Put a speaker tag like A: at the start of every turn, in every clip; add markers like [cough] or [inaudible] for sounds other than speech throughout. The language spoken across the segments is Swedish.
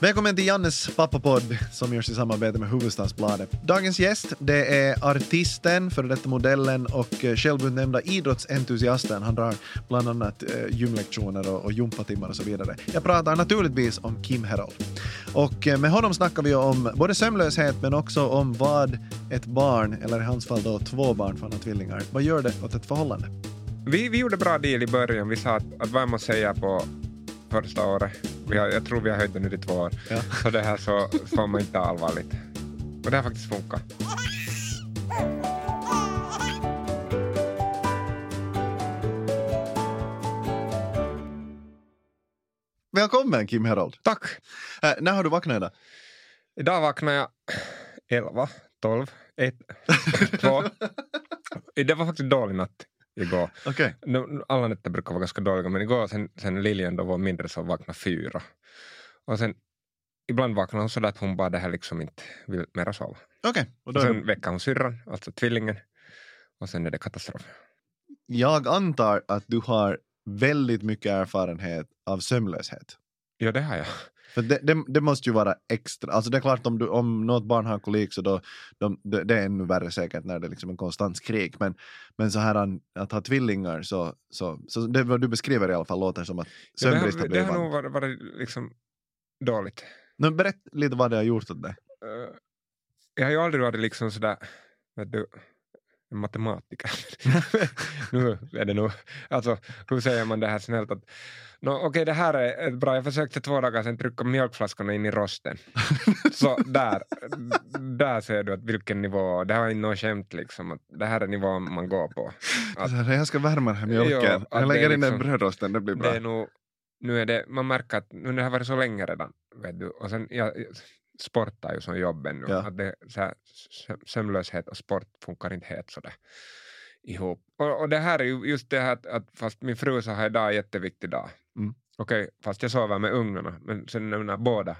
A: Välkommen till Jannes pappapodd som görs i samarbete med Hufvudstadsbladet. Dagens gäst det är artisten, före detta modellen och eh, självutnämnda idrottsentusiasten. Han drar bland annat eh, gymlektioner och, och gympatimmar och så vidare. Jag pratar naturligtvis om Kim Herold. Och eh, med honom snackar vi om både sömnlöshet men också om vad ett barn, eller i hans fall då två barn för han har tvillingar, vad gör det åt ett förhållande?
B: Vi, vi gjorde bra deal i början. Vi sa att, att vad jag måste säga på första året, vi har, jag tror vi har höjt det nu till två år,
A: Ja.
B: så det här så får man inte ta allvarligt. Och det har faktiskt funkat.
A: Välkommen Kim Herold!
B: Tack!
A: Eh, när har du vaknat idag?
B: Idag vaknade jag 11, 12, 1, 2. Det var faktiskt dålig natt igår.
A: Okej.
B: Nu- Alla nätter brukar vara ganska dåliga, men igår sen, sen Liljen då var mindre så vaknade fyra. Och sen ibland vaknar hon sådär att hon bara det här liksom inte vill mera sova.
A: Okej. Och då
B: Och
A: är det-
B: sen väcker hon syrran, alltså tvillingen. Och sen är det katastrof.
A: Jag antar att du har väldigt mycket erfarenhet av sömnlöshet.
B: Ja, det har jag.
A: För det, det, det måste ju vara extra. Alltså det är klart om, du, om något barn har kolik så då, de, det, det är ännu värre säkert när det är liksom en konstant skrik. Men, men så här an- att ha tvillingar så, så, så det vad du beskriver i alla fall låter som att
B: Ja, det
A: sömnbrist
B: har,
A: har
B: det
A: blivit
B: har nog
A: vanligt.
B: varit, varit liksom dåligt.
A: Nu berätt lite vad det har gjort åt dig.
B: Eh, Jag har ju aldrig varit liksom sådär, vet du, en matematiker. nu är det nog, alltså hur säger man det här snällt? Att, no, Okej, det här är ett bra. Jag försökte två dagar sedan trycka mjölkflaskorna in i rosten. Så där, där ser du att vilken nivå, det här är inte något skämt liksom. Att det här är nivån man går på. Att-
A: Så här, jag ska värma den här
B: Jo,
A: mjölken.
B: att det
A: jag
B: är
A: lägger in den
B: liksom-
A: brödrosten, det blir bra.
B: Det är nog, nu är det, man märker att nu det har varit så länge redan. Vet du. Och sen, jag jag sportar ju som jobb ännu.
A: Ja.
B: Att det, så här, sö- sömnlöshet och sport funkar inte helt sådär ihop. Och, och det här är ju just det här att, att fast min fru sa här idag är en jätteviktig dag.
A: Mm.
B: Okej, fast jag sover med ungarna, men sen nu när båda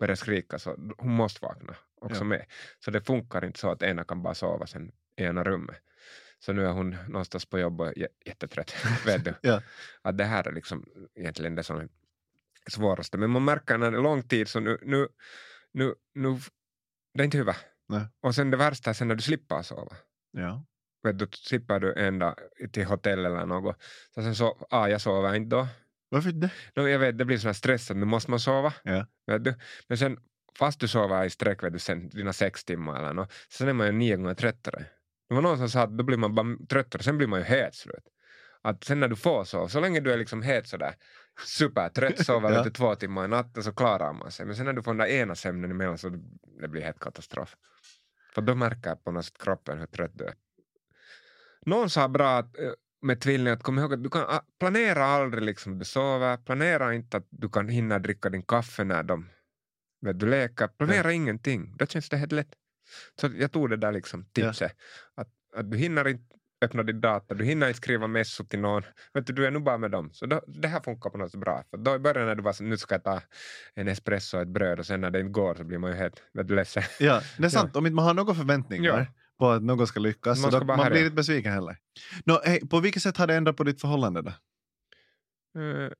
B: börjar skrika så hon måste vakna också
A: Ja.
B: med. Så det funkar inte så att ena kan bara sova sen i ena rummet. Så nu är hon någonstans på jobbet jä- jättetrött. [laughs] Vet du?
A: Ja.
B: Att det här är liksom egentligen det som är svåraste. Men man märker när det är lång tid så nu, nu, nu, nu det är inte huvud.
A: Nej.
B: Och sen det värsta är sen när du slipper sova.
A: Ja.
B: Vet du, slipper du ända till hotell eller något. Så sen så, ah, jag sover inte då.
A: Varför det?
B: No, jag vet, det blir sån här stress att nu måste man sova.
A: Ja.
B: Vet du? Men sen, fast du sover i sträck vet du, sen, dina sex timmar eller något, sen är man ju nio gånger tröttare. Det var någon som sa att då blir man bara tröttare, sen blir man ju het slut. Att sen när du får sova, så länge du är liksom helt sådär supertrött,
A: [laughs]
B: sover
A: Ja.
B: lite två timmar i natten så klarar man sig. Men sen när du får den där ena sömnen emellan så det blir helt katastrof. För då märker på något sätt kroppen hur trött du är. Någon sa bra att, eh, med tvillingar att kom ihåg att du kan ah, planera aldrig liksom du sover, planera inte att du kan hinna dricka din kaffe när de vet du leker, planera ingenting. Då känns det helt lätt. Så jag tog det där liksom
A: Ja.
B: tipset. Att, att du hinner inte öppna din dator, du hinner inte skriva messor till någon. Vet du, du är nu bara med dem. Så då, det här funkar på något sätt bra. För då i början när du var så nu ska jag ta en espresso och ett bröd och sen när det inte går så blir man ju helt vet du, ledsen.
A: Ja, det är sant. Om inte man har några förväntningar
B: [laughs] Ja.
A: på att något ska lyckas,
B: Man
A: så
B: ska
A: då,
B: bara
A: man
B: härja.
A: blir inte besviken heller. Nå, hej, på vilket sätt har det ändrat på ditt förhållande då?
B: Eh,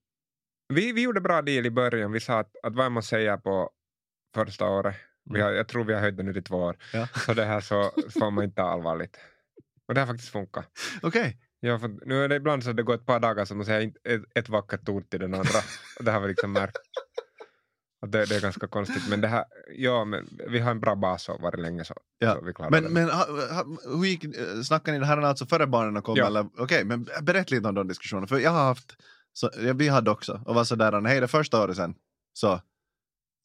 B: vi, vi gjorde bra deal i början. Vi sa att, att vad man säger på första året,
A: Mm.
B: vi har, jag tror vi har höjt det nu till två år,
A: Ja.
B: så det här så får man inte ta allvarligt. Och det har faktiskt funkat.
A: [laughs] Okej,
B: [laughs] Ja, för nu är det ibland så att det går ett par dagar som man säger inte- ett, ett vackert ord till den andra. Och det har vi
A: [laughs]
B: liksom märkt. Och det, det är ganska konstigt, men det här, ja, men vi har en bra bas och varit länge så,
A: Ja,
B: så vi klarar det.
A: men, men ha, ha, hur gick, eh, snackade ni det här alltså före barnen kom?
B: Ja.
A: eller Okej, men berätta lite om de diskussionerna, för jag har haft, så, ja, vi hade också, och var sådär, hej det första året sen, så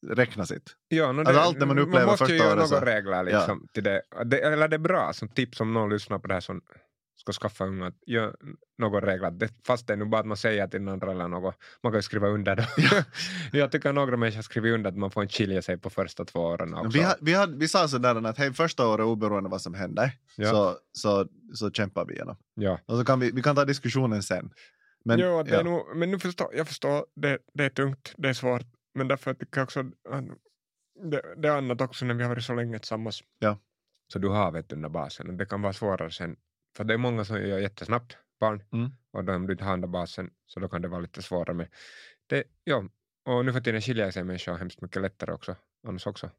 A: räkna sitt.
B: Ja, no,
A: Alltså allt det man upplever
B: måste ju
A: första
B: göra
A: året så-
B: några regler liksom, till det. det. Eller det är bra som tips om någon lyssnar på det här som ska skaffa unga, att gör några regler. Det, fast det är nu bara att man säger till den andra eller något. Man kan ju skriva under då. [laughs] jag tycker några människor skriver under att man får inte skilja sig på första två åren också.
A: Vi, ha, vi, hade, vi sa sådär att hej första året oberoende vad som händer,
B: Ja.
A: så, så, så kämpar vi igenom.
B: ja.
A: Och så kan vi, vi kan ta diskussionen sen. Men,
B: jo, det
A: ja.
B: är nog, men nu förstår, jag förstår, det, det är tungt, det är svårt, men därför tycker jag också att det, det är annat också när vi har varit så länge tillsammans.
A: Ja.
B: Så du har vet den där basen och det kan vara svårare sen, för det är många som gör jättesnabbt barn
A: Mm.
B: och då om du inte har den där basen så då kan det vara lite svårare. Men det, ja, Och nu för tiden skiljer sig människor hemskt mycket lättare också. Annars också.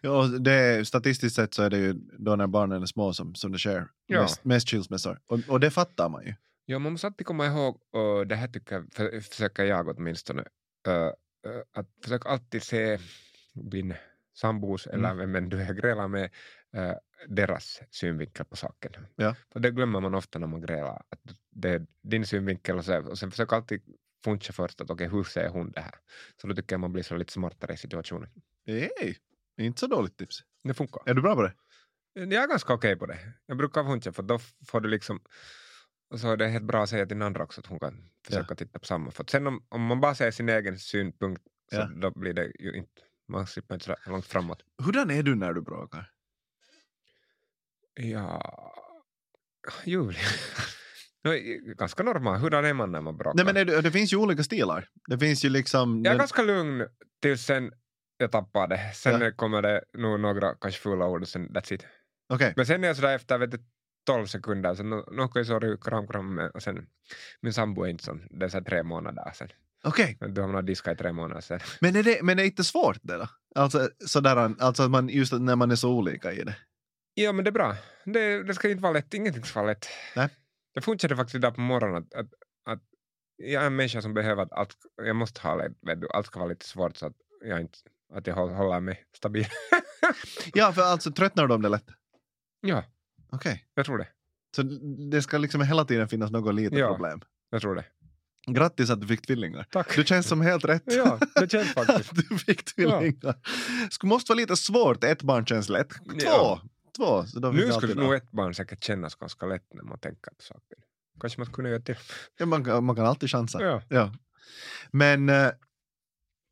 A: Ja, och det, statistiskt sett så är det ju då när barnen är små som, som det sker
B: Ja.
A: mest, mest skilsmässor. Och, och det fattar man ju.
B: Ja, man måste alltid komma ihåg, och det här tycker jag, för, försöker jag åtminstone, eh, eh, att försöka alltid se din sambos eller
A: Mm.
B: vem än du är grälar med, eh, deras synvinkel på saken.
A: Ja.
B: För det glömmer man ofta när man grälar, att det är din synvinkel och, så, och sen försöka alltid funcha först att okej, hur ser hon det här? Så då tycker jag man blir så lite smartare i situationen.
A: Hey, inte så dåligt tips.
B: Det funkar.
A: Är du bra på det?
B: Jag är ganska okej på Eh, det. Jag brukar huncha för då får du liksom... Och så är det helt bra att säga till den andra också att hon kan försöka titta på samma. För att sen om, om man bara ser sin egen synpunkt så
A: Ja.
B: då blir det ju inte... Man slipper inte så där långt framåt.
A: Hurdan är du när du bråkar?
B: Ja... Julia. [laughs] No, ganska normal. Hurdan är man när man bråkar?
A: Nej, men är du, det finns ju olika stilar. Det finns ju liksom...
B: Jag är
A: den-
B: ganska lugn tills sen jag tappar det. Sen
A: Ja.
B: kommer det nog några kanske fula ord och sen that's it.
A: Okej.
B: Men sen är jag sådär efter vet du, 12 sekunder, så no, no, okej, sorry, kram, kram. men- Och sen, min sambo är inte sån, det är så här tre månader sen.
A: okej.
B: Du har nog diskat i tre månader sen.
A: Men, är det, men är det inte svårt det då? Alltså, sådär, alltså att man, just när man är så olika i det.
B: Ja, men det är bra. Det, det ska inte vara lätt, ingenting ska vara lätt.
A: Nej.
B: Jag funderade faktiskt idag på morgonen att, att, att jag är en människa som behöver att allt, jag måste ha lätt, vet du, allt ska vara lite svårt så att jag inte, att jag håll- håller mig stabil. [laughs]
A: Ja, för alltså tröttnar de det lätt?
B: ja,
A: Okej.
B: jag tror det.
A: Så det ska liksom hela tiden finnas något litet
B: Ja.
A: problem.
B: Jag tror det.
A: Grattis att du fick tvillingar.
B: Tack.
A: Du [laughs] känns som helt rätt.
B: [laughs] ja, det känns
A: [laughs]
B: faktiskt.
A: att du fick tvillingar. Skulle måste vara lite svårt. Ett barn känns lätt. Två!
B: Ja.
A: Två. Så då fick
B: Nu
A: jag
B: skulle
A: alltid
B: nog
A: ha.
B: ett barn säkert kännas ganska lätt när man tänker på saken. Kanske man kunde göra till.
A: ja, man, kan- man kan alltid chansa.
B: [laughs] Ja.
A: Ja. Men, eh,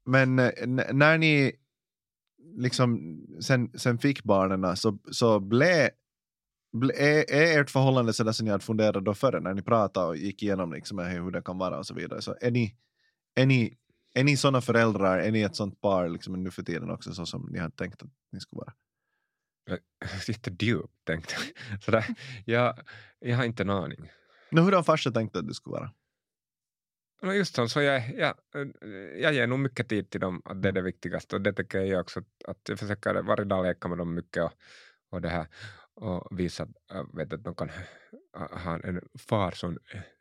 A: men eh, n- när ni liksom sen, sen fick barnen så, så blev ble, är, är ert förhållande sådär som ni hade funderat då före när ni pratade och gick igenom liksom hur hur det kan vara och så vidare. Så är ni, är ni, är ni sådana föräldrar, är ni ett sånt par liksom nu för tiden också så som ni hade tänkt att ni skulle vara?
B: Sitter djup, tänkte [laughs] jag. Sådär. Jag, jag har inte en aning.
A: Men hur har farsa tänkt att du skulle vara?
B: No just sån, så jag, jag, jag ger nog mycket tid till dem, att det är det viktigaste. Och det tycker jag gör också, att- att jag försöker varje dag leka med dem mycket och, och det här. Och visa att, äh, vet, du, att de kan ha- ha en far som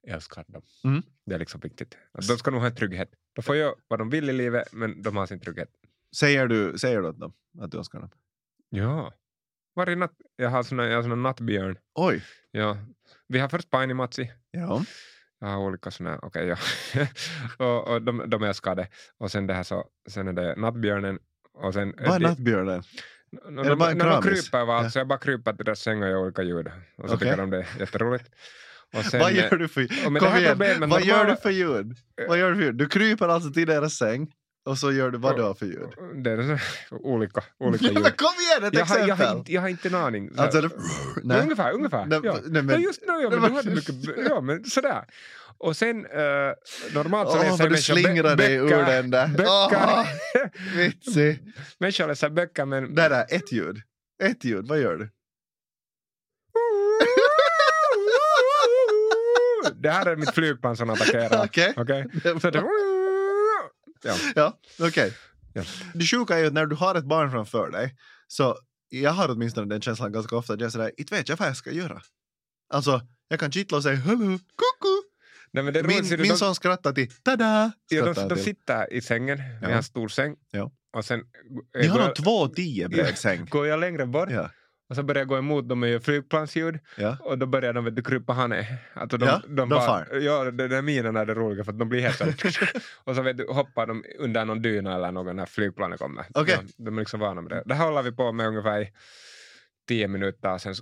B: älskar dem.
A: Mm.
B: Det är liksom viktigt. Att de ska nog ha en trygghet. De får göra vad de vill i livet, men de har sin trygghet.
A: Säger du, säger du åt dem att du älskar dem?
B: Ja. Varje natt, jag har såna, jag har såna nattbjörn.
A: Oj!
B: Ja. Vi har först painimatsi.
A: Ja.
B: Jag har olika såna, okej [laughs] ja. och, och de, de älskar det. Och sen det här så, sen är det nattbjörnen och sen... no,
A: Vad är nattbjörnen?
B: N-
A: det bara en
B: när de
A: kramis?
B: kryper va,
A: Ja.
B: så jag bara kryper till deras säng och gör olika ljud. Och så
A: Okej.
B: tycker de det är jätteroligt. Och sen, eh,
A: Vad gör du för...
B: och med det
A: Kom
B: här
A: igen,
B: problemet,
A: vad gör
B: normala-
A: du för ljud? Vad gör du för ljud? Du kryper alltså till deras säng och så gör du vad du har för ljud.
B: Det är så, olika, olika
A: Ja, [laughs]
B: ljud.
A: men kom igen, ett
B: Jag har, jag,
A: exempel!
B: har inte, jag har inte en aning. Så-
A: Alltså, det...
B: Nej.
A: [laughs] Nej.
B: Ungefär, ungefär.
A: Nej,
B: ja.
A: nej, men-
B: ja, just no nu, ja,
A: det
B: men
A: var-
B: du hade mycket... b- Ja, men sådär. Och sen, eh, normalt så
A: Åh,
B: läser
A: vad du
B: människor bö-
A: slingrar dig ur
B: böcker.
A: den där.
B: Böcker.
A: Åh,
B: [laughs]
A: vitsig.
B: Människor läser böcker, men...
A: Där, där, ett ljud. Ett ljud, vad gör
B: [laughs]
A: du?
B: Det här är mitt flygplan som attackerar.
A: Okej.
B: Okej? Så det... Ja.
A: Ja, okej.
B: Ja.
A: Det sjuka är ju att när du har ett barn framför dig, så jag har åtminstone den känslan ganska ofta att jag är sådär, inte vet jag vad jag ska göra. Alltså, jag kan kittla och säga hallå, koko.
B: Nej, men det är roligt,
A: Min,
B: ser du,
A: min
B: de,
A: son skrattar till tada.
B: ja, de,
A: skrattar
B: de
A: till.
B: sitter i sängen, vi har en stor säng.
A: Ja.
B: Och sen
A: Ni har
B: går,
A: en
B: jag,
A: två och tio bredsäng.
B: går jag längre bort
A: Ja.
B: och så börjar jag gå emot dem och gör flygplansljud
A: Ja.
B: och då börjar de vet du, krypa hane. Alltså de,
A: Ja,
B: de,
A: de
B: bara,
A: far.
B: Ja, de, de minerna är det roliga för att de blir helt så här- [laughs] Och så vet du, hoppar de under någon dyna eller någon när flygplanet kommer.
A: Okej.
B: Ja, de är liksom vana med det. Det här håller vi på med ungefär i tio minuter. Sen,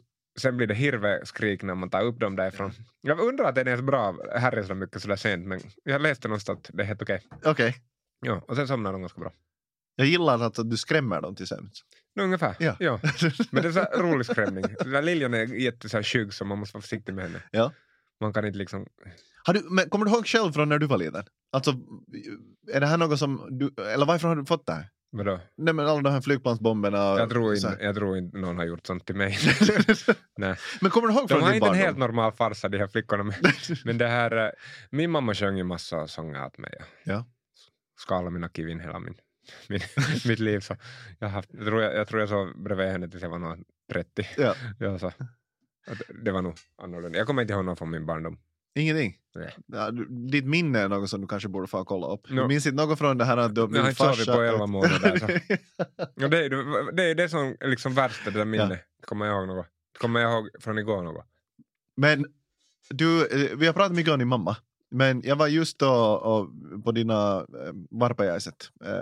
B: sen blir det hirveskrik när man tar upp dem därifrån. Jag undrar att det är ens bra här är så mycket sådär sent men jag läste någonstans att det är helt okej.
A: Okej.
B: Ja, och sen somnar de ganska bra.
A: Jag gillar alltså att du skrämmer dem till sömns.
B: No, ungefär.
A: Ja. [laughs]
B: Ja. Men det är så här rolig skrämning. Den där liljan är jätte så här skygg så man måste vara försiktig med henne.
A: Ja.
B: Man kan inte liksom
A: Har du, men kommer du ihåg själv från när du var liten? Alltså, är det här något som du, eller varifrån har du fått det här?
B: Vadå?
A: Nej men alla de här flygplansbomberna och
B: Jag
A: så
B: tror, inte,
A: här.
B: jag tror inte någon har gjort sånt till mig. Nej.
A: Men kommer du ihåg
B: De
A: från
B: har
A: din
B: inte en
A: barndom?
B: helt normal farsa
A: [laughs]
B: de här flickorna. Men, men det här, eh, min mamma sjöng ju massa sånger åt mig.
A: Ja.
B: skala mina kivin hela min, min, [laughs] mitt liv. Så jag, har haft, jag, tror jag, jag tror jag sov bredvid henne tills jag var nog 30.
A: Ja.
B: [laughs] Ja, så. Att Det var nog annorlunda. Jag kommer inte ihåg någon från min barndom.
A: Ingenting?
B: Nej.
A: Ja, du- ditt minne är något som du kanske borde få kolla upp.
B: No.
A: Du minns inte något från det här att du har
B: Men jag har
A: blivit
B: inte sovit
A: farsa?
B: på
A: [laughs]
B: 11 månader. Så. Ja, det, är, ju- det är ju det som är liksom värsta, det där minnet. Kommer jag ihåg något? Kommer jag ihåg från igår något?
A: Men du, eh, vi har pratat mycket om din mamma. Men jag var just då och, på dina eh, varpajaiset. Eh,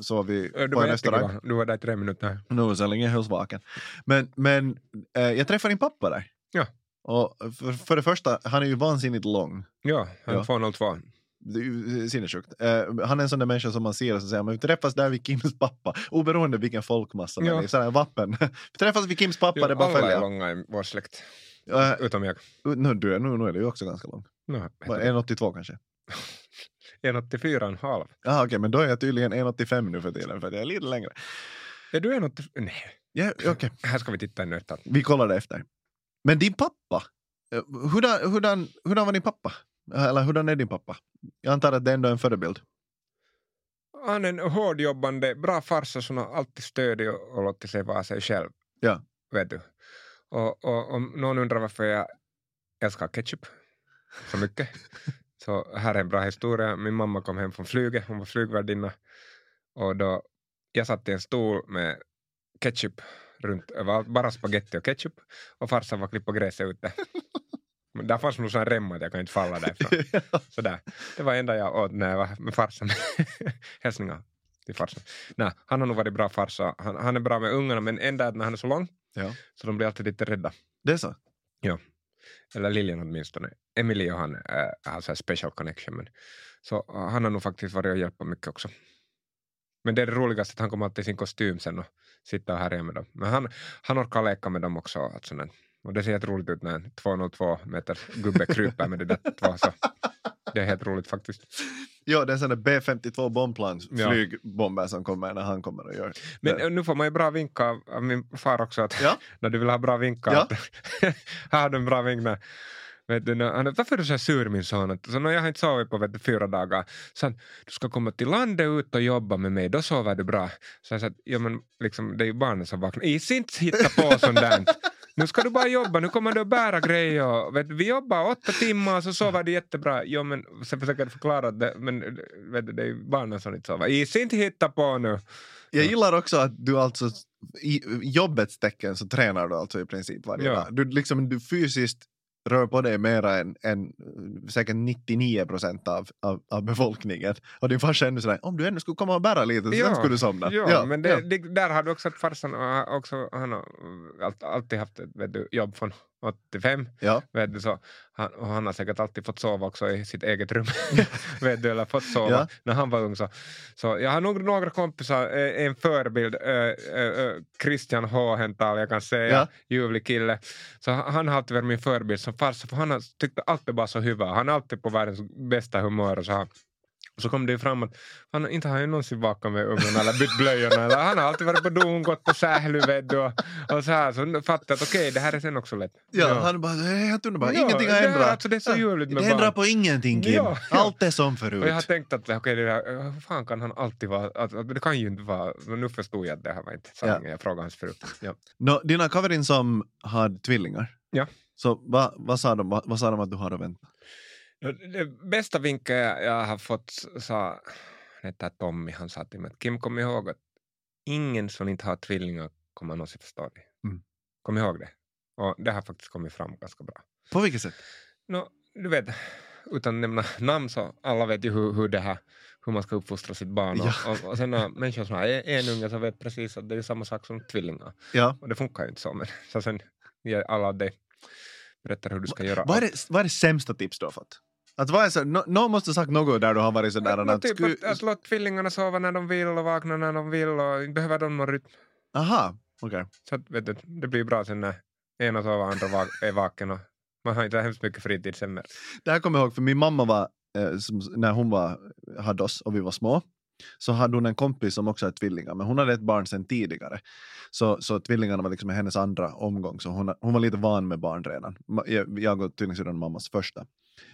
A: så var vi
B: Ö, Eh, Du
A: på
B: var,
A: en restaurang.
B: jättekiva. du var där i tre minuter.
A: Nu så länge jag hölls vaken. Men, men eh, jag träffade din pappa där.
B: Ja.
A: Och för, för det första, han är ju vansinnigt lång.
B: Ja, han
A: Ja.
B: 202.
A: Det är ju sinnessjukt. Eh, han är en sån där människa som man ser och så säger man vi träffas där vid Kims pappa. Oberoende vilken folkmassa man
B: Ja.
A: är i. Sådär vappen. [laughs] vi träffas vid Kims pappa, det är bara att
B: alla
A: följa.
B: är långa i vår släkt,
A: Eh,
B: utom jag.
A: nu, du, är- nu, nu är du ju också ganska lång.
B: No, heter
A: Vad, 1,82 kanske?
B: det? 1,84,5.
A: Ja, okej, men då är jag tydligen 1,85 nu för tiden, för det är lite längre.
B: Är du 1,84? Nej,
A: Ja, okej.
B: här ska vi titta ännu ett tag.
A: Vi kollar det efter. Men din pappa, eh, hurdan, hurdan, hurdan var din pappa? Eller hurdan är din pappa? Jag antar att det ändå är en förebild.
B: Han är en hårdjobbande, bra farsa som har alltid stöd och, och låter sig vara sig själv.
A: Ja.
B: Vet du. Och, och om någon undrar varför jag älskar ketchup så mycket, så här är en bra historia. Min mamma kom hem från flyget, hon var flygvärdinna. Och då, jag satt i en stol med ketchup runt överallt, bara spagetti och ketchup. Och farsan var klippa gräset ute. Men där fanns nog sån rem att jag kan inte falla därifrån. Sådär. Det var det enda jag åt när jag var med farsan. [laughs] Hälsningar till farsan. Nej, han har nog varit bra farsa. Han, han är bra med ungarna, men enda är att när han är så lång
A: Ja.
B: så de blir alltid lite rädda.
A: [laughs] det är så?
B: Eller Liljan åtminstone. Emilie och han äh, har så här special connection. Men, så äh, han har nog faktiskt varit och hjälpt mycket också. Men det är det roligaste att han kommer alltid i sin kostym sen och sitta och härja med dem. Men han, han orkar leka med dem också. Att sådär. Och det ser helt roligt ut när en 202 meter gubbe kryper med de där två. Så det är helt roligt faktiskt.
A: Ja, det är sådana B-52 bombplans,
B: Ja.
A: flygbomber som kommer när han kommer och gör.
B: Men
A: Ja.
B: eh, nu får man ju bra vinkar av- av min far också. Att
A: Ja.
B: [laughs] när du vill ha bra vinkar.
A: Ja.
B: Att, [laughs] här har du en bra vink. när- Vet du, när han, varför är du så här sur min son? Att, Så, "Nå, jag har inte sovit på vet du, fyra dagar. Så han, du ska komma till landet ut och jobba med mig, då sover du bra. Så jag sa att ja, men, liksom, det är ju barnen som vaknar. Is inte hitta på
A: [laughs]
B: sånt där. Nu ska du bara jobba, nu kommer du att bära grejer. och, Vet, du, vi jobbar åtta timmar och så sover du jättebra. Jo, men, sen försöker jag förklara att det, men, vet du, det är ju barnen som inte sover. Is inte hitta på nu.
A: Jag gillar också att du alltså, i jobbets tecken så tränar du alltså i princip varje
B: Ja.
A: dag. Du, liksom, du fysiskt rör på dig mera än, än eh, säkert 99 procent av, av, av befolkningen. Och din farsa är ännu sådär, om du ännu skulle komma och bära lite så
B: Ja.
A: sen skulle du somna.
B: Ja, men det,
A: ja.
B: Det, där har du också att farsan har också, han har allt- alltid haft ett vet du, jobb från 85.
A: Ja.
B: Vet du, så han, och han har säkert alltid fått sova också i sitt eget rum. [laughs] vet du, eller fått sova
A: Ja.
B: när han var ung. Så, så jag har nog några kompisar, eh, en förebild, eh, eh, eh, Christian Håhental, jag kan säga,
A: Ja.
B: ljuvlig kille. Så han han har alltid varit min förebild som farsa, för han har tyckt alltid bara så hyvä. Han är alltid på världens bästa humör och så här. Och så kom det ju fram att han inte har han ju någonsin vakat med ungarna eller
A: [laughs]
B: bytt blöjorna. Eller, han har alltid varit på don, gått på sähly vet du, och, och så här. Så nu fattar jag att okej, det här är sen också lätt.
A: Ja, han bara, det är helt underbart, ingenting har
B: det, här,
A: ändrat. Äh,
B: alltså, det är så ljuvligt
A: Det
B: med
A: ändrar
B: barn.
A: på ingenting Kim,
B: Ja, ja.
A: allt är som förut.
B: Och jag har tänkt att okej, det där, eh, hur fan kan han alltid vara... Att, att, det kan ju inte vara... Men nu förstod jag att det här var inte sanningen. Jag frågade hans fru. Ja.
A: Nå, dina coverin som har tvillingar,
B: Ja.
A: så vad, vad, sa de, vad, vad sa de att du har att vänta?
B: No, Det bästa vinkeln jag, jag har fått sa han heter Tommy, han sa till mig att Kim kom ihåg att ingen som inte har tvillingar kommer någonsin förstå dig.
A: Mm.
B: Kom ihåg det. Och det har faktiskt kommit fram ganska bra.
A: På vilket sätt?
B: No, du vet, utan att nämna namn så alla vet ju hur, hur det här hur man ska uppfostra sitt barn.
A: Ja.
B: Och, och, och sen har människor som har en- en unge så vet precis att det är samma sak som tvillingar.
A: Ja.
B: Och det funkar ju inte så. Men, [laughs] så sen ger alla dig berättar hur du ska göra.
A: Vad är, det, vad är det sämsta tips du har fått? Att vad är så, nå- någon måste ha sagt något där du har varit sådär...
B: No,
A: att,
B: typ
A: sku,
B: att, att låt tvillingarna sova när de vill och vakna när de vill och inte behöver de någon rytm.
A: aha, okej.
B: Så att, vet du, det blir bra sen när ena sover och andra va- är vaken. Och man har inte hemskt mycket fritid sen. men-
A: Det här kommer jag ihåg, för min mamma var, eh, som, när hon var, hade oss och vi var små, så hade hon en kompis som också är tvillingar, men hon hade ett barn sedan tidigare. Så, så tvillingarna var liksom hennes andra omgång, så hon, hon var lite van med barn redan. Ma- Jag, jag och tvillingsyrran och mammas första.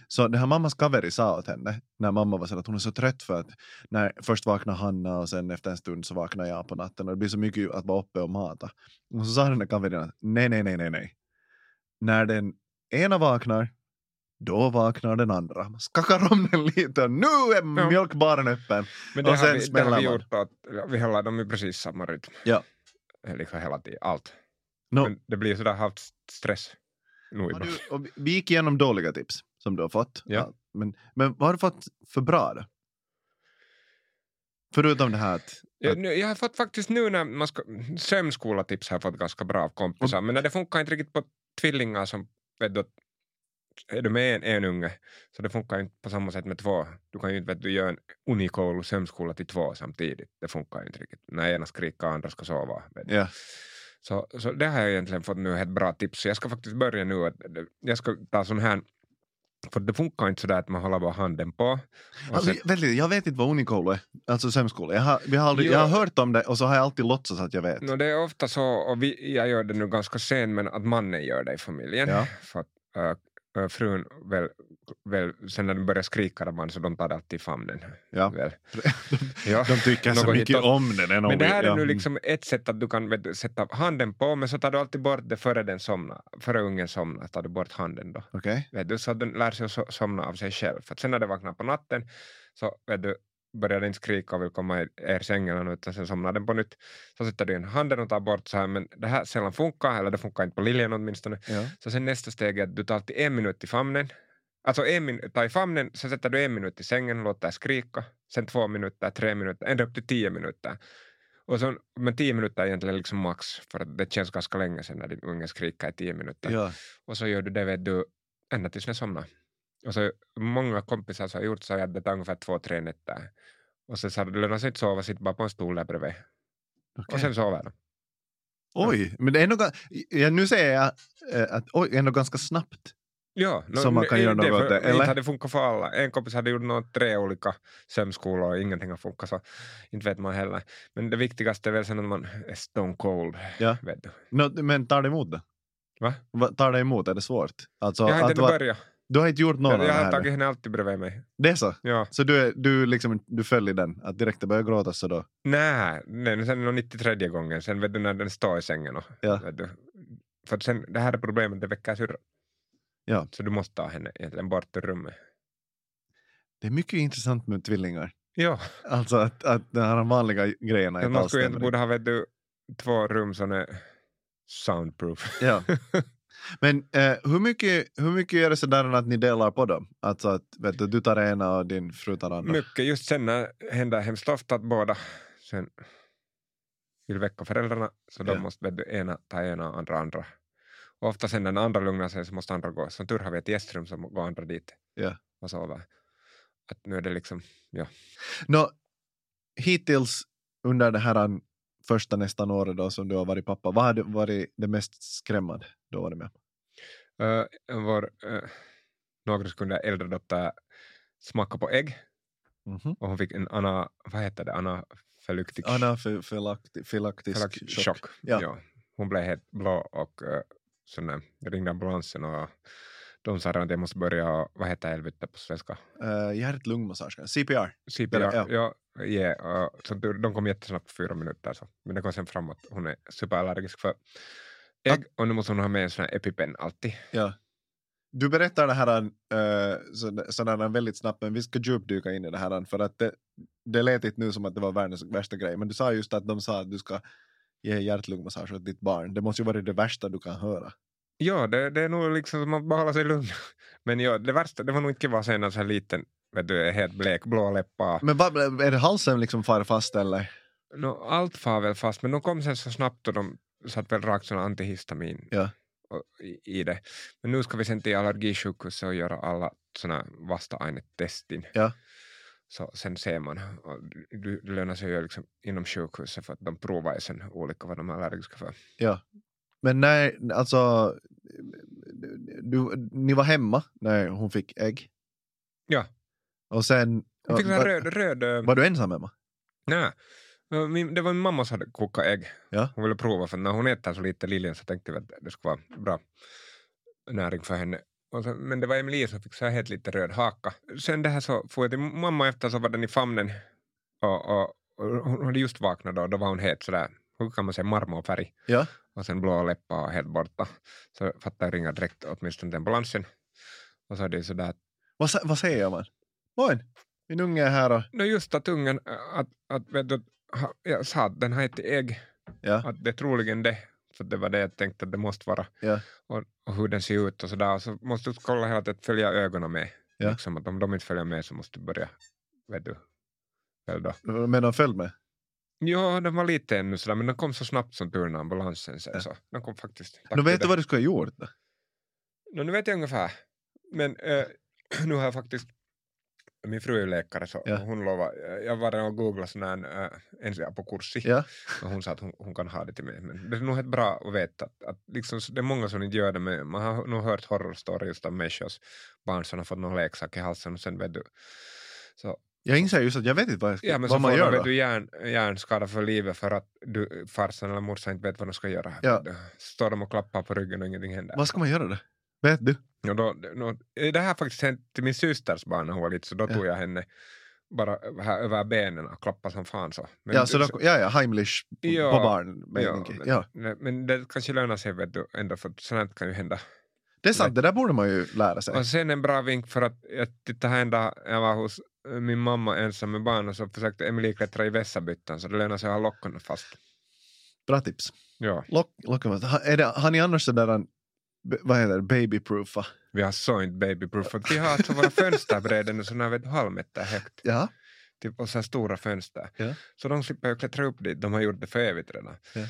A: Så det här mammas kaveri sa åt henne när mamma var så att hon är så trött för att när, först vaknar Hanna och sen efter en stund så vaknar jag på natten och det blir så mycket att vara uppe och mata. Och så sa den där kaverin att nej, nej, nej, nej, nej. När den ena vaknar, då vaknar den andra. Man skakar om den [laughs] lite och nu är
B: Ja.
A: mjölkbaren öppen.
B: Men det,
A: Och sen
B: har vi, det
A: smäller
B: har vi
A: man.
B: gjort att vi håller dem i precis samma rytm.
A: Ja.
B: Liksom hela tiden, allt.
A: No.
B: Men det blir sådär halvt stress. Nog
A: Har
B: ibland.
A: du, och vi- vi gick igenom dåliga tips som du har fått.
B: Ja.
A: men, men vad har du fått för bra då? Förutom det här att...
B: Jag, nu, jag har fått faktiskt nu när man ska, sömnskola-tips har jag fått ganska bra av kompisar, men när det funkar inte riktigt på tvillingar som vet du, att är du med en, en unge, så det funkar inte på samma sätt med två. Du kan ju inte vet du, göra en unikolu sömnskola till två samtidigt. Det funkar ju inte riktigt. När ena skriker och andra ska sova. Vet du.
A: Ja.
B: Så, så det har jag egentligen fått nu ett bra tips. Så jag ska faktiskt börja nu. Att, jag ska ta sån här, för det funkar inte sådär att man håller bara handen på. och
A: Alltså,
B: sen-
A: vänta lite, jag vet inte vad unikoulu är, alltså sömskola. Jag har, vi har aldrig, jag har hört om det och så har jag alltid låtsats att jag vet.
B: No, det är ofta så, och vi, jag gör det nu ganska sen, men att mannen gör det i familjen.
A: Ja.
B: För att, äh, äh, frun, väl, väl, sen när den börjar skrika, där man, så de tar det alltid i famnen.
A: Ja. [laughs]
B: Väl. ja.
A: De tycker så
B: Något
A: mycket
B: hitåt.
A: om den. än om
B: Men det
A: vi-
B: här är
A: ja.
B: nu liksom ett sätt att du kan vet, du, sätta handen på, men så tar du alltid bort det före, den somnar, före ungen somnar. Tar du bort handen då.
A: Mm. Okej.
B: Vet du, så att den lär sig att so- somna av sig själv. För att sen när den vaknar på natten så vet du, börjar den inte skrika och vill komma i er säng eller något, utan sen somnar den på nytt. Så sätter du in handen och tar bort så här, men det här sällan funkar, eller det funkar inte på liljen åtminstone.
A: Ja.
B: Så sen nästa steg är att du tar alltid en minut i famnen. Alltså en min- tar i famnen, sen sätter du en minut i sängen och låter skrika. Sen två minuter, tre minuter, ända upp till tio minuter. Och sen, men tio minuter är egentligen liksom max, för att det känns ganska länge sedan när din unge skriker i tio minuter.
A: Ja.
B: Och så gör du det vet du, ända tills den somnar. Och så, många kompisar som har gjort så här, att det tar ungefär två, tre nätter. Och sen så har det lönat sig inte sova, sitt bara på en stol där bredvid.
A: Okej.
B: Och sen sover de.
A: Oj, men det är nog, ga- ja, nu säger jag eh, att oj, det är nog ganska snabbt.
B: Ja, no,
A: Så man
B: nu-
A: kan göra
B: inte
A: något åt
B: för-
A: det, eller?
B: Inte hade funkat för alla. En kompis hade gjort något, tre olika sömnskolor och ingenting har funkat, så inte vet man heller. Men det viktigaste är väl sen att man är stone cold.
A: Ja.
B: Vet du.
A: Nå, men tar det emot det?
B: Va?
A: Va, tar det emot? Är det svårt? Alltså,
B: Jag har
A: att
B: inte ännu
A: va-
B: börjat.
A: du har inte gjort någon av
B: Jag,
A: det
B: jag har
A: här?
B: tagit henne alltid bredvid mig.
A: Det är så?
B: Ja.
A: Så du, är, du, liksom, du följer den? Att direkt det börjar gråta så då?
B: Nej, nej, sen är det 93 gången, sen vet du när den står i sängen. Och,
A: Ja.
B: vet du, för att sen, det här är problemet, det väcker syrran.
A: Ja.
B: Så du måste ta henne egentligen bort ur rummet.
A: Det är mycket intressant med tvillingar.
B: Ja,
A: Alltså att, att de här vanliga grejerna
B: Nej,
A: inte
B: man
A: alls
B: skulle egentligen
A: stämmer.
B: borde ha vet du, två rum som är soundproof. [laughs]
A: Ja. Men eh, hur, mycket, hur mycket är det sådär att ni delar på dem? Alltså att vet du, du tar ena och din fru tar andra?
B: Mycket just sen när händer hemskt ofta att båda sen vill väcka föräldrarna så då
A: Ja.
B: måste vet du, ena ta ena och andra andra. Och ofta sen när den andra lugnar sig så måste andra gå. Som tur har vi ett gästrum som går andra dit
A: Ja.
B: och sover. Att nu är det liksom
A: Nå, hittills under det här an- första nästan året då som du har varit pappa, vad har du varit det mest skrämmande du har varit med om?
B: Uh, vår eh, några sekunder äldre dotter smakade på ägg
A: Mhm.
B: och hon fick en ana, vad heter det, anafylaktisk
A: Anafylaktisk
B: fylak-
A: chock.
B: chock.
A: Ja.
B: Hon blev helt blå och uh, så när jag ringde ambulansen och de sa redan att jag måste börja, vad heter helvete på svenska?
A: Eh, Hjärt-lungmassage, CPR.
B: CPR.
A: Ja.
B: Ja. Ja, och så tur- de kom jättesnabbt på fyra minuter. Så. Men det kom sen fram att hon är superallergisk för ägg och nu måste hon ha med en sån här EpiPen alltid.
A: Ja. Du berättar det här uh, så, sådär väldigt snabbt, men vi ska djupdyka in i det här för att det, det lät inte nu som att det var världens värsta grej, men du sa just att de sa att du ska ge hjärt-lungmassage åt ditt barn. Det måste ju vara det värsta du kan höra.
B: Ja, det, det är nog liksom som att man behåller sig lugn. [laughs] Men ja, det värsta, det var nog inte kiva att se någon så här liten, vet du, helt blek, blå läppar.
A: Men vad, är det halsen liksom far fast eller?
B: No, allt far väl fast, men de kom sen så snabbt och de satt väl rakt sån antihistamin
A: Ja.
B: och- i, i det. Men nu ska vi sen till allergisjukhuset och göra alla såna vasta-ainetestin.
A: Ja.
B: Så sen ser man. Och du- det lönar sig ju liksom inom sjukhuset för att de provar ju sen olika vad de är allergiska för.
A: Men när, alltså, du, ni var hemma när hon fick ägg?
B: Ja.
A: Och sen,
B: Hon fick sån här
A: var,
B: röd, röd eh,
A: var du ensam hemma?
B: Nej. Ö, Min, det var min mamma som hade kokat ägg.
A: Ja.
B: Hon ville prova, för när hon äter så lite liljen så tänkte vi att det skulle vara bra näring för henne. Och så, men det var Emily som fick så här helt lite röd haka. Sen det här så får jag till mamma efter så var den i famnen. Och, och, och hon hade just vaknat då och då var hon helt sådär, hur kan man säga marmorfärg?
A: Ja.
B: Och sen blå läppar och helt borta. Så fattade jag ringa direkt åtminstone till ambulansen. Och så är det ju sådär att,
A: Vad, sä- vad säger man? Moin! Min unge är här och...
B: no just att ungen, äh, att, att vet du, ha- jag sa att den har ett ägg,
A: Ja,
B: att det är troligen det. För det var det jag tänkte att det måste vara.
A: ja,
B: och, och hur den ser ut och sådär. Så måste du kolla hela tiden, följa ögonen med.
A: Ja.
B: Liksom, att om de inte följer med så måste du börja, vet du. Väl då.
A: men de följde med.
B: Jo, den var lite ännu sådär, men den kom så snabbt som tur när ambulansen sen.
A: Ja.
B: Så. Den kom faktiskt.
A: Nu vet du vad du skulle ha gjort? då?
B: Nå, nu vet jag ungefär. Men eh, [clears throat] nu har jag faktiskt, min fru är ju läkare så
A: Ja.
B: hon lovade, jag var redan och googlade sån här äh, ensiapokurssi.
A: Ja,
B: Och hon sa att hon, hon kan ha det till mig. Men det är nog helt bra att veta att, att liksom, så- det är många som inte gör det. Men man har nog hört horror stories om människors barn som har fått någon leksak i halsen och sen vet du. Så,
A: jag inser just att jag vet inte vad, jag ska,
B: ja, men så
A: vad man
B: får
A: gör
B: de, vet
A: då.
B: du, hjärn, hjärnskada för livet för att du, farsan eller morsan inte vet vad de ska göra.
A: Ja.
B: Då Står de och klappar på ryggen och ingenting händer.
A: Vad ska man göra då? Vet du?
B: Och då, då, eh, det här har faktiskt hänt till min systers barn när hon var liten så då
A: Ja.
B: tog jag henne bara här över benen och klappade som fan så. Men
A: Ja, så då, ja, ja, Heimlich
B: Ja,
A: på barn.
B: Ja,
A: Ja,
B: men,
A: ja.
B: nej, men det kanske lönar sig vet du, ändå för sånt här kan ju hända.
A: Det är sant, det där borde man ju lära sig.
B: Och sen en bra vink för att jag tittade här en dag jag var hos eh, min mamma ensam med barn och så försökte Emily klättra i vässabyttan så det lönar sig att ha lockorna fast.
A: Bra tips.
B: Ja,
A: Lock, lock, ha, är det, har ni annars sådär, en- b- vad heter det, babyproofa?
B: vi har så inte babyproof för att vi har alltså våra fönsterbräden och sådana vet du, halvmeter högt
A: Ja.
B: typ, och så här stora fönster.
A: Ja.
B: Så de slipper ju klättra upp dit, de har gjort det för evigt redan.
A: Ja.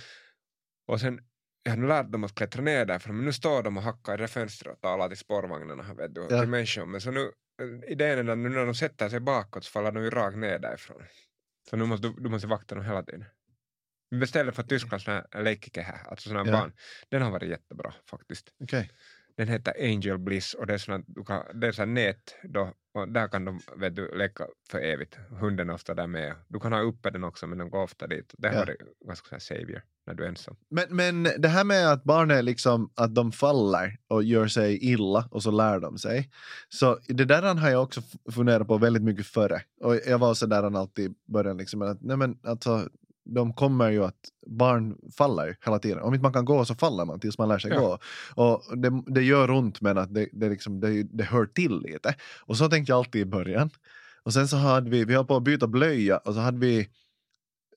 B: Och sen jag har nu lärt dem att klättra ner därför, men nu står de och hackar i det fönstret och talar till spårvagnarna här, vet du, och
A: Ja.
B: till människor. Men så nu, eh, idén är att nu när de sätter sig bakåt så faller de ju rakt ner därifrån. Så nu måste du, du måste vakta dem hela tiden. Vi beställde från Tyskland sån här lekike här, alltså sån här
A: Mm. Ja.
B: barn. Den har varit jättebra faktiskt.
A: Okej.
B: Den heter Angel Bliss och det är sån här, du kan, det är sån här nät då, och där kan de vet du, leka för evigt. Hunden är ofta där med. Du kan ha uppe den också men den går ofta dit. Det har
A: Ja.
B: varit ganska sån här savior när du är ensam.
A: Men, men det här med att barnen liksom, att de faller och gör sig illa och så lär de sig. Så det där har jag också f- funderat på väldigt mycket före. Och jag var sådär alltid i början liksom, att nej men alltså, de kommer ju att barn faller ju hela tiden. Om inte man kan gå så faller man tills man lär sig
B: Ja.
A: gå. Och det, det gör ont men att det, det, liksom, det, det hör till lite. Och så tänkte jag alltid i början. Och sen så hade vi, vi höll på att byta blöja och så hade vi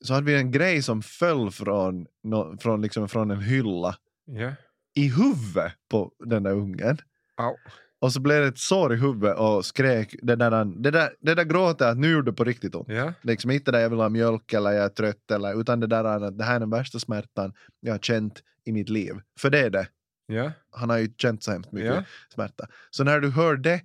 A: så hade vi en grej som föll från, nå- från, liksom, från en hylla
B: Ja.
A: i huvudet på den där ungen.
B: Au.
A: Och så blev det ett sår i huvudet och skrek det där, det där, det där gråter jag att nu gjorde det på riktigt ont.
B: Ja.
A: Liksom inte där jag vill ha mjölk eller jag är trött eller utan det där att det här är den värsta smärtan jag har känt i mitt liv. För det är det.
B: Ja.
A: Han har ju känt så hemskt mycket
B: Ja.
A: smärta. Så när du hör det,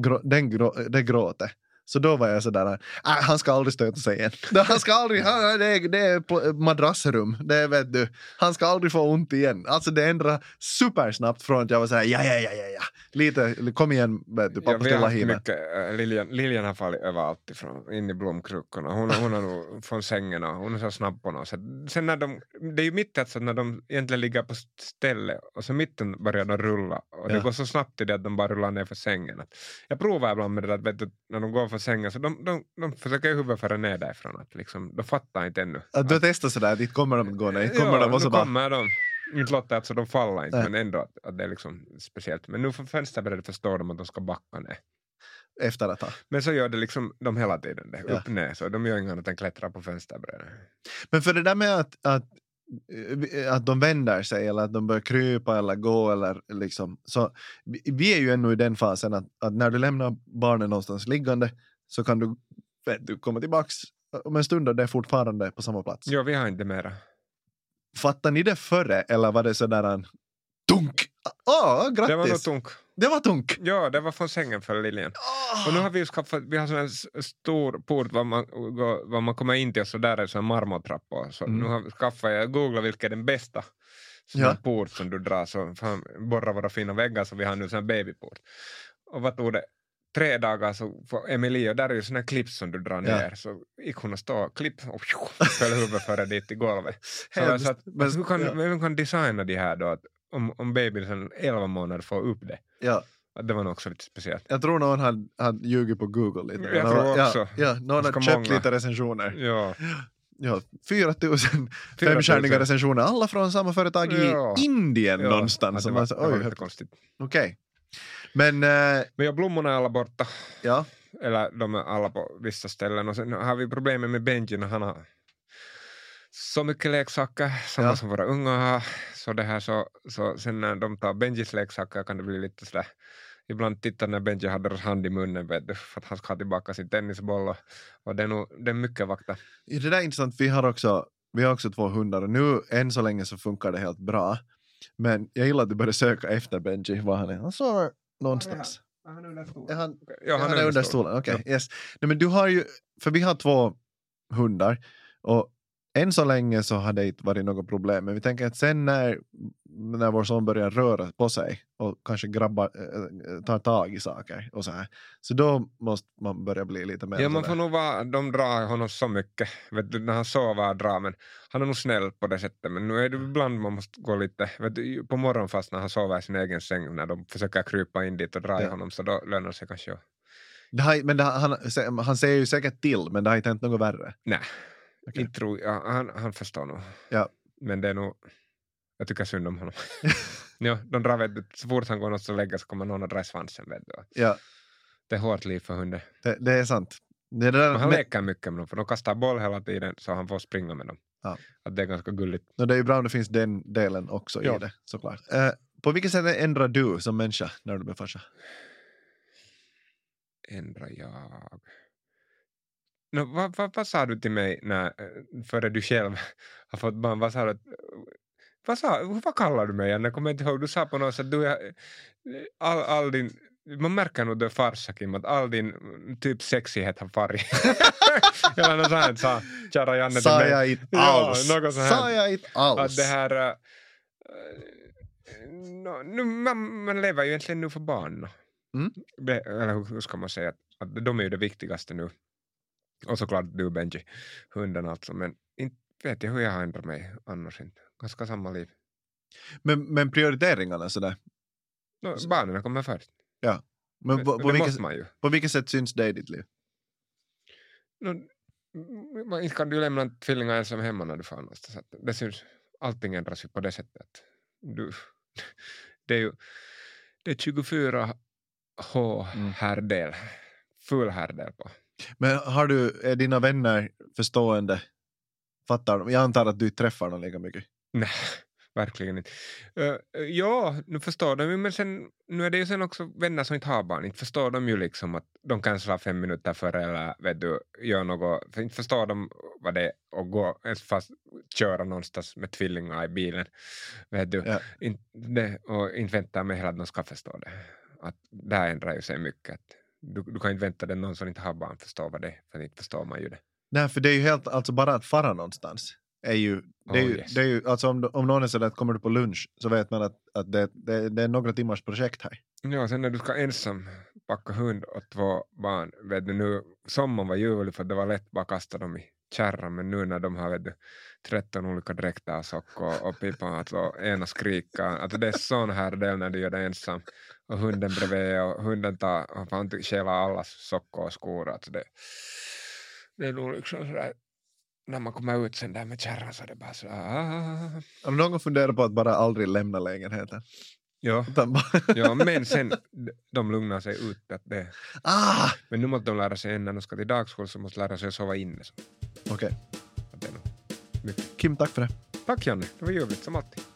A: grå, den grå, det gråtet, så då var jag sådär, äh, han ska aldrig stöta sig igen. [laughs] Han ska aldrig, han, det, är, det är på- madrassrum, det vet du. Han ska aldrig få ont igen. Alltså det ändrar supersnabbt från att jag var såhär, ja, ja, ja, ja, ja. Lite, kom igen, vet du,
B: Ja,
A: pappa
B: vi har
A: ställa
B: haft
A: himlen.
B: mycket, äh, Liljan, Liljan har fallit överallt ifrån, in i blomkrukorna. Hon, hon har nog [laughs] från sängen och hon är så snabb på något sätt. Sen när de, det är ju mitt alltså när de egentligen ligger på ställe och så mitten börjar de rulla och det
A: Ja.
B: går så snabbt i det att de bara rullar ner för sängen. Att jag provar ibland med det där, att vet du, när de går för sängen så de, de, de försöker ju huvudet föra ner därifrån. Att liksom, de fattar inte ännu. Eh,
A: Att du testar sådär, att inte kommer de att gå, nej, kommer
B: ja,
A: de och
B: nu
A: så bara,
B: kommer de. Inte låter alltså de faller inte,
A: Nej.
B: men ändå att, att det är liksom speciellt. Men nu för fönsterbrädet förstår de att de ska backa ner.
A: efter ett tag.
B: Men så gör det liksom de hela tiden, det,
A: Ja.
B: upp ner, så de gör inget annat än klättrar på fönsterbrädan.
A: Men för det där med att, att, eh, att de vänder sig eller att de börjar krypa eller gå eller liksom så. vi- Vi är ju ännu i den fasen att, att när du lämnar barnen någonstans liggande så kan du, vet du komma tillbaks om en stund och det är fortfarande på samma plats.
B: Jo, vi har inte mera.
A: Fattar ni det före eller var det sådär en dunk? Åh, grattis!
B: Det var nog tunk.
A: Det var dunk! Ah!
B: Ja, det var från sängen för Liljen.
A: Åh!
B: Och nu har vi ju skaffat, vi har sån här s- stor port var man, går- var man kommer in till och så där är sån här marmortrappa. och Så
A: Mm.
B: nu har vi skaffat, jag googlade vilken är den bästa sån
A: Ja.
B: här port som du drar, så fan, borra våra fina väggar så vi har nu sån här babyport. Och vad tog det? Tre dagar så får Emilio, där är ju såna här klipp som du drar
A: Ja.
B: ner, så gick hon och stod och klipp och [laughs] föll huvudet före dit i golvet. Så jag
A: Hemskt.
B: sa att,
A: Men-
B: hur kan,
A: ja.
B: vem kan designa de här då? Att, om, om babyn sen 11 månader får upp det.
A: Ja,
B: Att Det var nog också lite speciellt.
A: jag tror någon hade, hade ljugit på Google lite.
B: Jag tror också.
A: Ja, ja, någon
B: Ganska
A: hade köpt
B: många.
A: lite recensioner.
B: Ja,
A: Ja, 4 000
B: 000.
A: femstjärniga recensioner, alla från samma företag i
B: Ja.
A: Indien
B: ja,
A: någonstans.
B: att Det
A: Som
B: var,
A: var, så,
B: det var
A: oj,
B: lite
A: okej.
B: konstigt.
A: Men eh,
B: Men ja, blommorna är alla borta.
A: ja,
B: Eller de är alla på vissa ställen. Och sen har vi problemet med Benji när han har så mycket leksaker, samma
A: Ja.
B: som våra unga har. Så, det här så, så sen när de tar Benjis leksaker kan det bli lite sådär Ibland tittar när Benji har deras hand i munnen vet du, för att han ska ha tillbaka sin tennisboll. Och, och det, är nog, det är mycket vakta.
A: det där är intressant. Vi har, också, vi har också två hundar och nu än så länge så funkar det helt bra. Men jag gillar att du började söka efter Benji, var han är. Han sover någonstans. Är han,
B: Ja,
A: han är under stolen, okej. Yes. Nej, men du har ju, för vi har två hundar och än så länge så har det inte varit något problem. Men vi tänker att sen när, när vår son börjar röra på sig och kanske grabbar, äh, tar tag i saker och så här, så då måste man börja bli lite mer
B: Ja, man får
A: sådär.
B: nog vara, de drar honom så mycket. Vet du, när han sover och drar, men han är nog snäll på det sättet. Men nu är det ibland man måste gå lite, vet du, på morgonen fast när han sover i sin egen säng, när de försöker krypa in dit och dra i
A: Ja.
B: honom, så då lönar det sig kanske. att-
A: det har, men det, har- han, se- han säger ju säkert till, men det har inte hänt något värre.
B: Nej,
A: Okej.
B: inte tror jag. Han, han förstår nog.
A: Ja.
B: Men det är nog, jag tycker synd om honom.
A: [laughs]
B: ja, de drar, vet du, så fort han går någonstans och lägger så kommer någon och drar i svansen. Vet du.
A: Ja,
B: Det är hårt liv för hunden.
A: det, det är sant. Det där,
B: Men han
A: men-
B: leker mycket med dem, för de kastar boll hela tiden så han får springa med dem.
A: Ja.
B: Att det är ganska gulligt.
A: No, det är ju bra om det finns den delen också i
B: Ja.
A: det såklart. Eh, på vilket sätt ändrar du som människa när du blir farsa?
B: ändrar jag? No, vad, vad, vad sa du till mig när, eh, före du själv [laughs] har fått barn? Vad sa du? att- Vad, sa, vad kallar du mig? igen? Jag kommer inte ihåg. Du sa på något sätt du är eh, all, all din... Man märker nog du är farsa Kim, att all din mm, typ sexighet har farit. [laughs] Eller något sånt här sa kära Janne till
A: Sa
B: mig.
A: jag inte
B: Ja,
A: alls?
B: något så här.
A: Sa jag inte
B: Att
A: alls?
B: det här... eh, eh, nå, nu, man, man lever ju egentligen nu för barn. nå.
A: Mm.
B: Det- Eller hur- hur ska man säga? Att, att de är ju det viktigaste nu. Och såklart du Benji, hunden alltså. Men inte vet jag hur jag har ändrat mig annars inte. Ganska samma liv.
A: men, men prioriteringarna sådär.
B: No,
A: Så-
B: barnen kommer först.
A: Men på, på,
B: det måste
A: vilket,
B: man ju.
A: på vilket sätt syns det i ditt liv?
B: No, m- man- inte kan du lämna tvillingar ensam hemma när du far någonstans. Att Det syns, allting ändras ju på det sättet. att Du, [laughs] det är ju det är 24 H
A: Mm.
B: härdel, full härdel på.
A: Men har du, är dina vänner förstående? Fattar de? Jag antar att du inte träffar dem lika mycket.
B: Nej, [laughs] verkligen inte. Eh, ja, nu förstår de ju, men sen, nu är det ju sen också vänner som inte har barn. Inte förstår de ju liksom att de kan slå fem minuter före eller vet du, gör något. För inte förstår de vad det är att gå, ens fast köra någonstans med tvillingar i bilen. Vet du.
A: Ja.
B: Inte det, och inte väntar mig heller att de ska förstå det. Att det här ändrar ju sig mycket. Att du, du kan inte vänta dig någon som inte har barn förstår vad det är, för inte förstår man ju det.
A: Nej, för det är ju helt, alltså bara att fara någonstans är ju, det är
B: Oh,
A: ju,
B: yes.
A: det är ju alltså om, om någon är sådär att kommer du på lunch så vet man att, att det, det, det är några timmars projekt här.
B: Ja, sen när du ska ensam packa hund och två barn, vet du nu, sommaren var ljuvlig för det var lätt bara kasta dem i kärran, men nu när de har vet du, 13 olika dräkter och sockor och pipan att och ena skrika, att det är sån här del när du gör det ensam och hunden bredvid och hunden tar, och fan ty- stjäla allas sockor och skor, att det, det är nog liksom sådär, när man kommer ut sen där med kärran så är det bara sådär, ah.
A: Har du någon gång funderat på att bara aldrig lämna lägenheten?
B: ja.
A: Utan bara,
B: ja, men sen d- de lugnar sig ut, att det
A: ah!
B: Men nu måste de lära sig innan de ska till dagskola så måste de lära sig att sova inne. Så
A: Okej.
B: att det är nog-
A: Kim, tack för det.
B: noh, Tack Janne, det var ljuvligt som alltid.